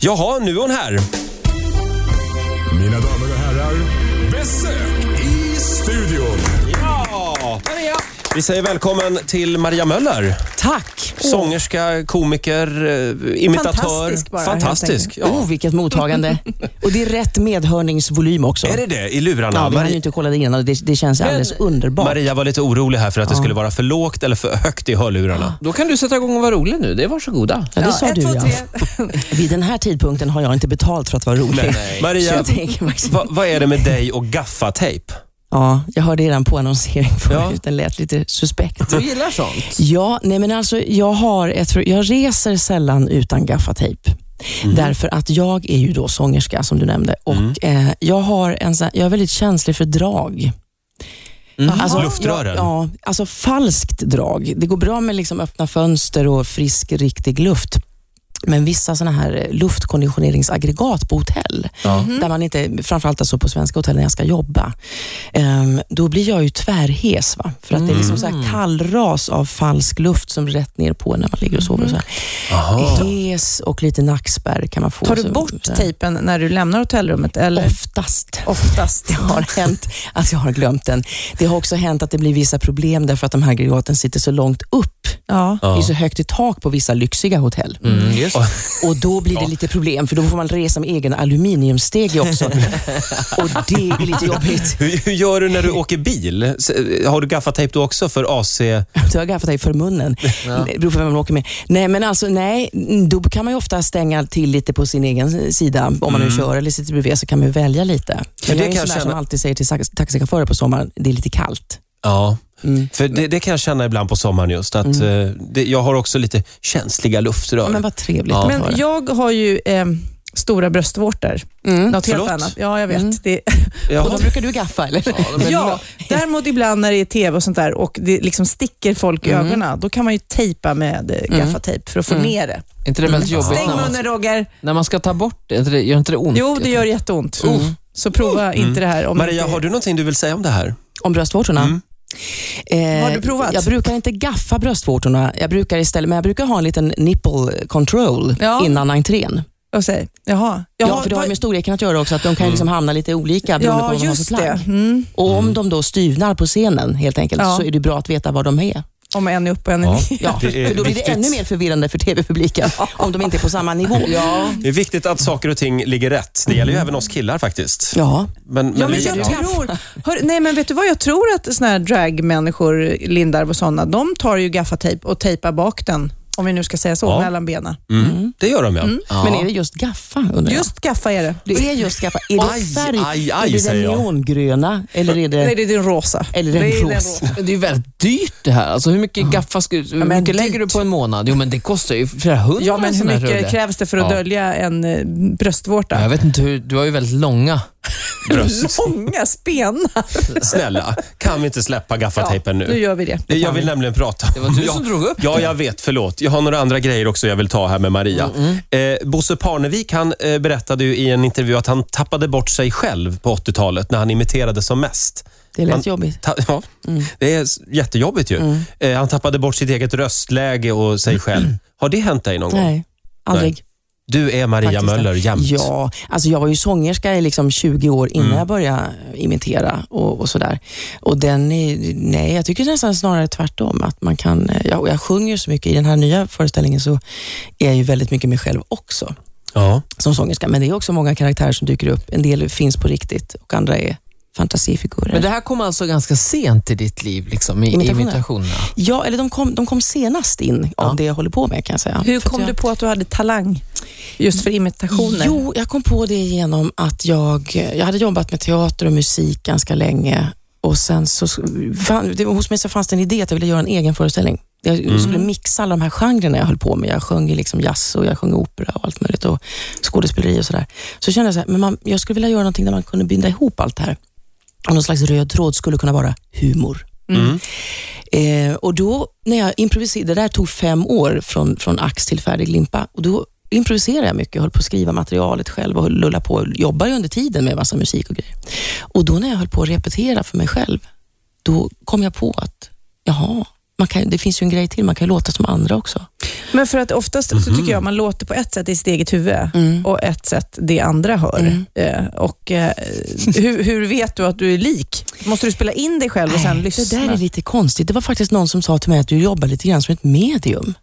Jaha, nu är hon här. Mina damer och herrar, besök i studion. Ja! Vi säger välkommen till Maria Möller. Tack! Sångerska, komiker, eh, imitatör. Fantastisk bara, Fantastisk. Ja. Oh, vilket mottagande. Och det är rätt medhörningsvolym också. Är det det i lurarna? Ja, vi hann Mari- ju inte kolla det innan och det, det känns alldeles underbart. Maria var lite orolig här för att det skulle vara för lågt eller för högt i Ah, hörlurarna. Då kan du sätta igång och vara rolig nu. Det är varsågoda. ja, det sa ett, du två, ja. tre. Vid den här tidpunkten har jag inte betalt för att vara rolig. Så eh, Maria, jag tänker faktiskt, va, vad är det med dig och gaffatejp? ja, jag hörde redan på annonsering förut, Ja. den lät lite suspekt. Du gillar sånt. Ja, nej men alltså jag, har ett, jag reser sällan utan gaffatejp. Därför att jag är ju då sångerska som du nämnde och eh, jag, har en, sån- jag är väldigt känslig för drag. Alltså, Luftrören. Ja, ja, alltså falskt drag. Det går bra med liksom öppna fönster och frisk, riktig luft. Men vissa såna här eh, luftkonditioneringsaggregat på hotell, där man inte, framförallt alltså på svenska hotell när jag ska jobba, ehm, då blir jag ju tvärhes. Va? För att det är liksom så här kallras av falsk luft som rätt ner på när man ligger och sover. Och så Mm. Ah. här. Hes och lite nackspärr kan man få. Tar du Så- bort så- tejpen när du lämnar hotellrummet? Eller? Oftast. Oftast. Det har hänt att jag har glömt den. Det har också hänt att det blir vissa problem därför att de här aggregaten sitter så långt upp. Ja. Det är så högt i tak på vissa lyxiga hotell. Mm. Mm, Och då blir det lite problem för då får man resa med egen aluminiumstege också. Och det är lite jobbigt. Hur, hur gör du när du åker bil? S- eh, Har du gaffatejp då också för AC? Så jag har gaffat dig för munnen. Det beror på vem man åker med. Nej, men alltså, nej, då kan man ju ofta stänga till lite på sin egen sida. Om man nu kör eller sitter bredvid så kan man ju välja lite. Men det jag är en kan sån jag där som känna- alltid säger till tax- taxichaufförer på sommaren, det är lite kallt. Mm. Ja. För det, det kan jag känna ibland på sommaren just. Att, eh, det, jag har också lite känsliga luftrör. Ja, men vad trevligt att höra. Men jag har ju eh, stora bröstvårtor. Något helt Förlåt? annat. Ja, jag vet. Mm. Det, Jaha. Och då brukar du gaffa eller? ja, däremot ibland när det är tv och sånt där och det liksom sticker folk i Mm. ögonen, då kan man ju tejpa med eh, gaffatejp för att få ner det. Är inte det väldigt jobbigt Stäng när man, munnen Roger. när man ska ta bort det? Är inte det- Gör inte det ont? Jo, det gör jätteont. Mm. Oh, Så prova inte det här. Om Maria, inte... har du någonting du vill säga om det här? Om bröstvårtorna? Mm. Eh, Har du provat? Jag brukar inte gaffa bröstvårtorna, jag brukar istället, men jag brukar ha en liten nipple control Ja. innan entrén. Och säg, jaha. Ja, Jaha, för det har vad- ju med storleken att göra också, att de Mm. kan ju liksom hamna lite olika beroende ja på vad de har för just plagg. det. Mm. Och om de då styvnar på scenen helt enkelt, Ja. så är det bra att veta var de är. Om en är upp och en är ner. Ja, Det är för då blir det viktigt. ännu mer förvirrande för tv-publiken om de inte är på samma nivå. Ja, Det är viktigt att saker och ting ligger rätt. Det gäller ju även oss killar faktiskt. ja. Men, men, Ja, men vi- jag tror, hör, nej men vet du vad, jag tror att såna här dragmänniskor, Lindarw och sådana, de tar ju gaffatejp och tejpar bak den, om vi nu ska säga så, Ja. mellan benen. Mm, det gör de ja. men är det just gaffa undrar jag? Just gaffa är det. Det är just gaffa. Är det Aj, färg? aj, aj, är det den säger jag. neongröna? Eller är det... Nej, det är din rosa. Eller det är en den ros. rosa. Men Det är ju väldigt dyrt det här. Alltså, hur mycket gaffa ska, hur men mycket lägger du dyrt. på en månad? Jo, men det kostar ju flera hundra. Ja, men hur sån här rulle. mycket krävs det för att Ja. dölja en eh, bröstvårta? Ja, Jag vet inte hur, du har ju väldigt långa. Bröst. Långa spenar. Snälla, kan vi inte släppa gaffatejpen Nu nu? gör vi det. Det Jag vill nämligen prata om... Det var du Ja, som drog upp Ja, jag vet. Förlåt. Jag har några andra grejer också jag vill ta här med Maria. Mm, Eh, Bosse Parnevik han eh, berättade ju i en intervju att han tappade bort sig själv på 80-talet när han imiterade som mest. Det lät Han- jobbigt. Ta- ja, Mm. Det är s- jättejobbigt ju. Eh, han tappade bort sitt eget röstläge och sig själv. Har det hänt dig någon gång? Mm. Nej, aldrig. Du är Maria faktiskt Möller inte. jämt. Ja, alltså jag var ju sångerska i liksom 20 år innan Mm. jag började imitera och, och sådär. Och den är, nej, jag tycker nästan snarare tvärtom. Att man kan, eh, jag, och jag sjunger så mycket. I den här nya föreställningen så är jag ju väldigt mycket mig själv också Ja. som sångerska. Men det är också många karaktärer som dyker upp. En del finns på riktigt och andra är fantasifigurer. Men det här kom alltså ganska sent i ditt liv, liksom, i Imitationer. imitationerna. imitationerna. Ja, eller de kom, de kom senast in av Ja. det jag håller på med kan jag säga. Hur För att kom jag... du på att du hade talang just för imitationer? Jo, jag kom på det genom att jag, jag hade jobbat med teater och musik ganska länge och sen så, fan, det, var- hos mig så fanns det en idé att jag ville göra en egen föreställning. Jag skulle mixa alla de här genrerna jag höll på med. Jag sjöng ju liksom jazz och jag sjöng opera och allt möjligt och skådespeleri och sådär. Så kände jag så här, men man, jag skulle vilja göra någonting där man kunde binda ihop allt det här. Och någon slags röd tråd skulle kunna vara humor. Eh, och då när jag improviserade, det där tog fem år från, från ax till färdig limpa. Och då improviserade jag mycket, höll på att skriva materialet själv och lulla på och jobbade ju under tiden med massa musik och grejer. Och då när jag höll på att repetera för mig själv, då kom jag på att, jaha, man kan, det finns ju en grej till, man kan ju låta som andra också. Men för att oftast så Mhm. tycker jag man låter på ett sätt i sitt eget huvud Mm. och ett sätt det andra hör. Eh, och eh, hur, hur vet du att du är lik? Måste du spela in dig själv och sen Nej, lyssna? Det där är lite konstigt. Det var faktiskt någon som sa till mig att du jobbar lite grann som ett medium.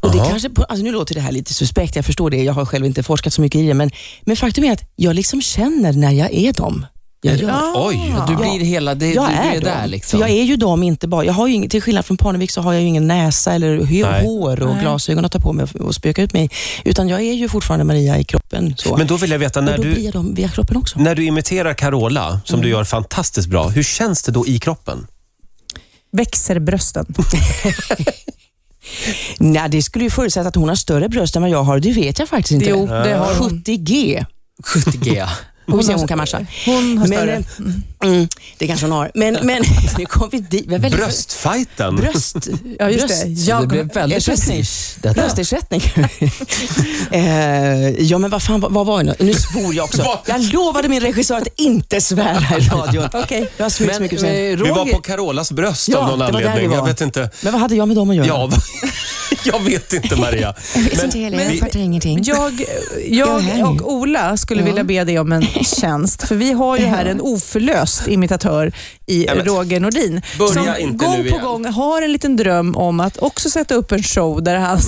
Och det Jaha. kanske, alltså nu låter det här lite suspekt, jag förstår det. Jag har själv inte forskat så mycket i det, men, men faktum är att jag liksom känner när jag är dem. Jag gör. Oj! Du blir hela, det, Jag du är blir dem. där liksom. För jag är ju dem inte bara. Jag har ju ingen, till skillnad från Parnevik så har jag ju ingen näsa eller hö- Nej. hår och glasögon att ta på mig och- och spöka ut mig Utan jag är ju fortfarande Maria i kroppen. Så. Men då vill jag veta, och när då blir du, Mm. jag Mm. dem via kroppen också. när du imiterar Carola, som du gör fantastiskt bra, hur känns det då i kroppen? Växer brösten? Nej, det skulle ju förutsätta att hon har större bröst än vad jag har. Det vet jag faktiskt inte. Jo, det har hon. 70G. 70G. ja. Får vi se om hon kan matcha. Hon har Men, större. eh, mm, det kanske hon har. Men, men nu kom vi dit. Vi har väldigt- Bröstfighten! Bröst. Ja, just det. Bröst. Så det blev väldigt Ersättning. prestige detta. Bröstersättning. eh, ja, men vad fan, vad, vad var jag nu? Nu svor jag också. Jag lovade min regissör att inte svära i radion. Okej. Jag har svurit så mycket på scenen. eh, Vi var Roger, på Carolas bröst Ja, av någon det var där anledning. vi var. Jag vet inte. Men vad hade jag med dem att göra? Ja, vad- jag vet inte Maria. vi- ingenting. Jag, Jag är här jag nu. och Ola skulle Ja. vilja be dig om en tjänst, för vi har ju här en oförlöst imitatör i Ja, men- Roger Nordin. Börja som inte gång nu på igen. gång har en liten dröm om att också sätta upp en show där han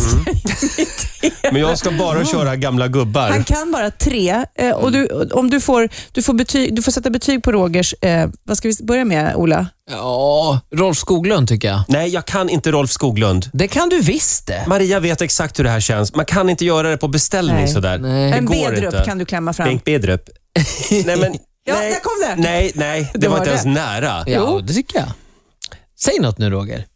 Mm. Men jag ska bara köra gamla gubbar. Han kan bara tre. eh, Och du, om du, får, du, får betyg, du får sätta betyg på Rogers... Eh, vad ska vi börja med, Ola? Ja, Rolf Skoglund tycker jag. Nej, jag kan inte Rolf Skoglund. Det kan du visst det. Maria vet exakt hur det här känns. Man kan inte göra det på beställning Nej. sådär. Nej. Det en går B-drupp inte. kan du klämma fram. Bengt Bedrup. Nej, men... Ja, nej, där kom den. Nej, nej, det Det var var inte ens det. nära. Ja, det tycker jag. Säg något nu Roger.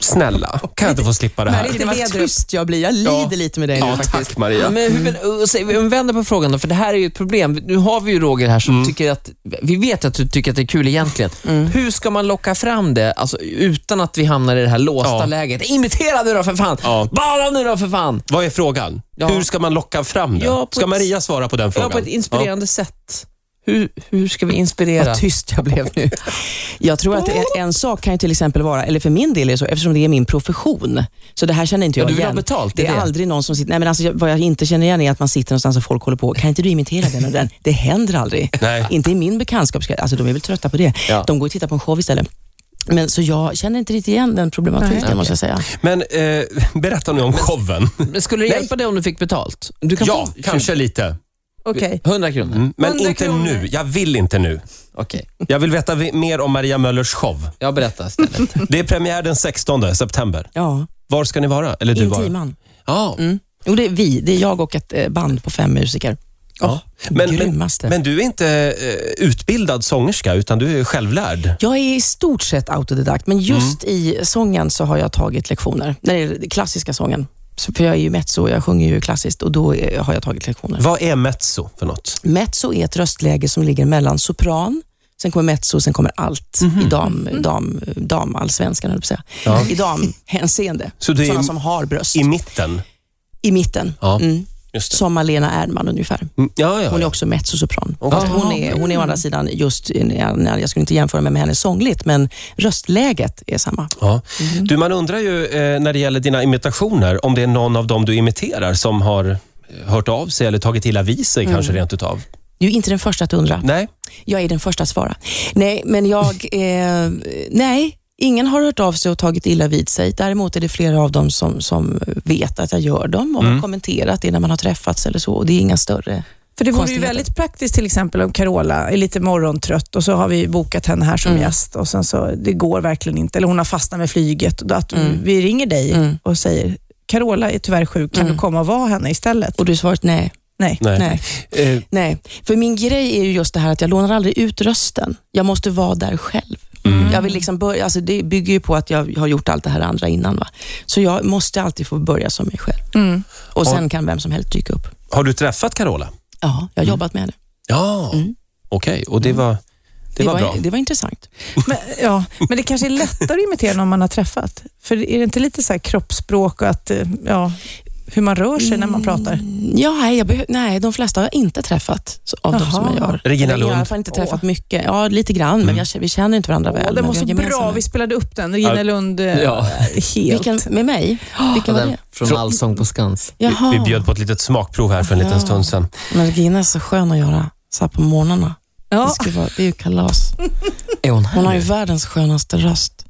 Snälla, kan jag inte få slippa det här? Maria- Lite vad Vedrup. tyst jag blir. Jag lider lite med dig nu Ja, faktiskt. tack Maria. Men hur, men, och säg- om vi vänder på frågan då, för det här är ju ett problem. Nu har vi ju Roger här som tycker att, vi vet att du tycker att det är kul egentligen. Hur ska man locka fram det alltså, utan att vi hamnar i det här låsta Ja. läget? Imitera nu då för fan! Ja. Bara nu då för fan! Vad är frågan? Ja. Hur ska man locka fram det? Ja, på ska ett- Maria svara på den Ja, frågan? på ett inspirerande sätt. Hur, hur ska vi inspirera? Vad tyst jag blev nu. Jag tror att en, en sak kan ju till exempel vara, eller för min del är det så, eftersom det är min profession, så det här känner inte Ja, jag du vill igen. ha betalt, det det är är det. aldrig någon som sitter... Nej, men alltså, jag- vad jag inte känner igen är att man sitter någonstans och folk håller på, kan inte du imitera den och den? Det händer aldrig. Nej. Inte i min bekantskapskrets. Alltså, de är väl trötta på det. Ja. De går och tittar på en show istället. Men, så jag känner inte riktigt igen den problematiken, Nej. måste jag säga. Men eh, berätta nu om showen. Men Skulle det Nej. hjälpa dig om du fick betalt? Du kan Ja, få kanske lite. Okej. 100 kronor. Mm, Men 100 inte kronor. nu. Jag vill inte nu. Okej, Jag vill veta vi- mer om Maria Möllers show. jag berättar istället. Det är premiär den 16 september. Ja, Var ska ni vara? Eller du vara? Intiman. Ja. Jo, det är vi. Det är jag och ett eh, band på fem musiker. ja. Men, men, grymmaste. men du är inte eh, utbildad sångerska, utan du är självlärd. Jag är i stort sett autodidakt, Mm. men just i sången så har jag tagit lektioner. När det gäller den klassiska sången. Så- För jag är ju mezzo, jag sjunger ju klassiskt och då eh, har jag tagit lektioner. Vad är mezzo för något? Mezzo är ett röstläge som ligger mellan sopran, sen kommer mezzo, sen kommer allt Mhm. i dam, Mm. dam, damallsvenskan, höll jag på att säga. I damhänseende. Så det är Sådana i- som har bröst. I I, mitten? mitten. Ja, Mm. just det. Som Malena Erdman ungefär. Mm, Ja, ja, Hon är ja. också mezzosopran. Fast Hon är, hon är å andra sidan just, jag, jag skulle inte jämföra mig med henne sångligt, men röstläget är samma. ja. Du, man undrar ju eh, när det gäller dina imitationer, om det är någon av dem du imiterar som har eh, hört av sig eller tagit illa vid sig kanske rent utav. Du är inte den första att undra. Nej, Jag är den första att svara. Nej, men jag... Eh, nej, ingen har hört av sig och tagit illa vid sig. Däremot är det flera av dem som, som vet att jag gör dem och har kommenterat det när man har träffats eller så. Och det är inga större... För det vore ju Konstigheter. väldigt praktiskt till exempel om Carola är lite morgontrött och så har vi bokat henne här som Mm. gäst och sen så, det går verkligen inte, eller hon har fastnat med flyget. Och då att Vi ringer dig Mm. och säger, Carola är tyvärr sjuk, kan du komma och vara henne istället? Och du svarat nej. Nej. nej. Nej. Eh, nej. För min grej är ju just det här att jag lånar aldrig ut rösten. Jag måste vara där själv. mm. Jag vill liksom börja, alltså det bygger ju på att jag har gjort allt det här andra innan. Va? Så jag måste alltid få börja som mig själv. Mm. Och sen kan vem som helst dyka upp. har du träffat Carola? Ja, jag har jobbat med det. Ja, Mm. okej. Och det var, det var, bra. Det var intressant. Men, ja, men det kanske är lättare att imitera någon man har träffat. För är det inte lite så här kroppsspråk och att, eh, ja, hur man rör sig när man pratar? Ja, Mm. nej, jag behö- nej, de flesta har jag inte träffat så- av de Jaha. som jag gör. Regina Eller Jag har i alla Lund. fall inte träffat mycket. Ja, lite grann, Mm. men jag, k- vi känner inte varandra väl. Åh, men den var vi så har gemensamma- bra. Vi spelade upp den. Regina Ja. Lund, eh, Ja. helt. Vilken, med mig? Vilken var Den det? från Allsång på Skans. Jaha. Vi, vi bjöd på ett litet smakprov här för en liten Ja. stund sedan. Men Regina är så skön att göra så här på morgnarna. Det, Ja. skulle vara, det är ju kalas. Är hon här Hon har ju Mm. nu? världens skönaste röst.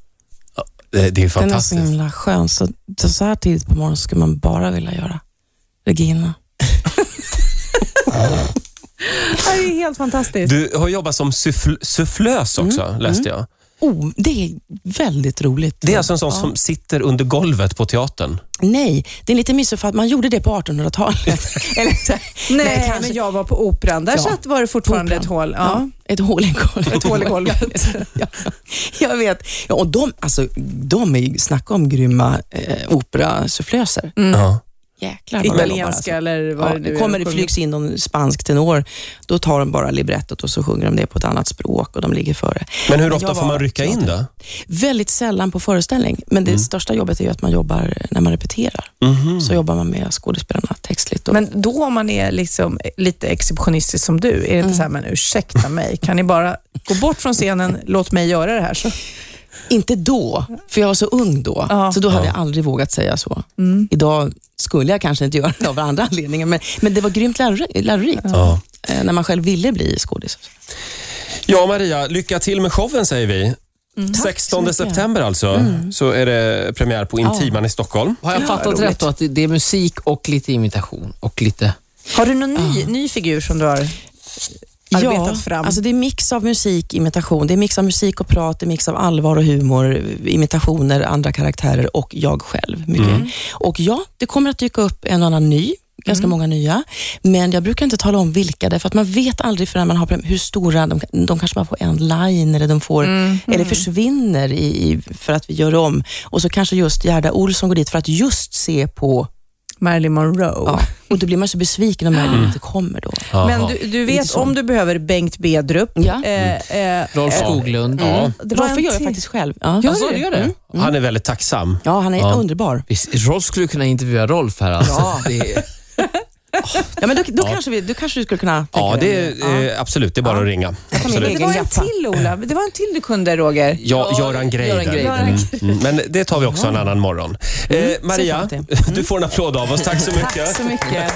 Det, det är Den är så fantastiskt. himla skön. Så, så, så här tidigt på morgonen skulle man bara vilja göra Regina. Ja, Det är helt fantastiskt. Du har jobbat som suffl- sufflös Mm. också, läste jag. Oh, det är väldigt roligt. Det är alltså en sån som sitter under golvet på teatern. Nej, det är lite missuppfattning. Man gjorde det på 1800-talet. Eller så här, Nej, kanske- men jag var på operan. Där Ja. satt var det fortfarande På ett hål. Ja. ja, ett hål i golvet. Ett hål i golvet. ja, jag vet. Ja, och de, alltså, de är ju, snacka om grymma eh, operasufflöser. Ja. Jäklar vad de jobbar, alltså. Italienska eller vad Ja, det nu det är. kommer, det flygs in någon spansk tenor, då tar de bara librettot och så sjunger de det på ett annat språk och de ligger före. Men hur jag ofta får var- man rycka in då? Väldigt sällan på föreställning, men Mm. det största jobbet är ju att man jobbar när man repeterar. Så jobbar man med skådespelarna textligt. Och, Men då om man är liksom lite exhibitionistisk som du, är det inte Mm. så här, men ursäkta mig, kan ni bara gå bort från scenen, låt mig göra det här? Så. inte då, för jag var så ung då, Ja. så då hade jag aldrig vågat säga så. Mm. Idag skulle jag kanske inte göra det av andra anledningar, men, men det var grymt lärori- lärorikt Ja. eh, när man själv ville bli skådis. Ja, Maria, lycka till med showen säger vi. Mm. så 16 mycket. Mm. september alltså, så är det premiär på Intiman i Stockholm. Har jag fattat rätt då att det- det är musik och lite imitation och lite... Har du någon ny, ny figur som du har arbetat ja, fram? Alltså det är mix av musik, imitation. Det är mix av musik och prat, det är mix av allvar och humor, imitationer, andra karaktärer och jag själv. Mycket. Och ja, det kommer att dyka upp en och annan ny, ganska många nya. Men jag brukar inte tala om vilka, därför att man vet aldrig förrän man har problem, hur stora, de, de kanske bara får en line eller de får, Mm. eller försvinner i, i, för att vi gör om. Och så kanske just Gerda Olsson går dit för att just se på, Marilyn Monroe. ja. och då blir man så besviken om Marilyn inte kommer då. Men Jaha. du, du Lite vet så. om du behöver Bengt Bedrup. Ja. Eh, eh, Rolf Skoglund. Ja. det var Varför en gör jag till. faktiskt själv? Ja. Gör alltså, du gör det? Mm. Han är väldigt tacksam. Ja, han är Ja. underbar. Visst, Rolf skulle kunna intervjua Rolf här alltså. Ja. Det är... Ja, men då, då, Kanske vi, då kanske du skulle kunna tänka Ja, det är, dig. eh, absolut. Det är bara att ringa. med Absolut. Det var en Jaffa. till, Ola. Det var en till du kunde, Roger. Ja, Ja, Göran Greider. Göran Greider. Mm, mm. Men det tar vi också en annan morgon. Eh, ser Maria, fram till. du får en applåd av oss. Tack så mycket. Tack så mycket.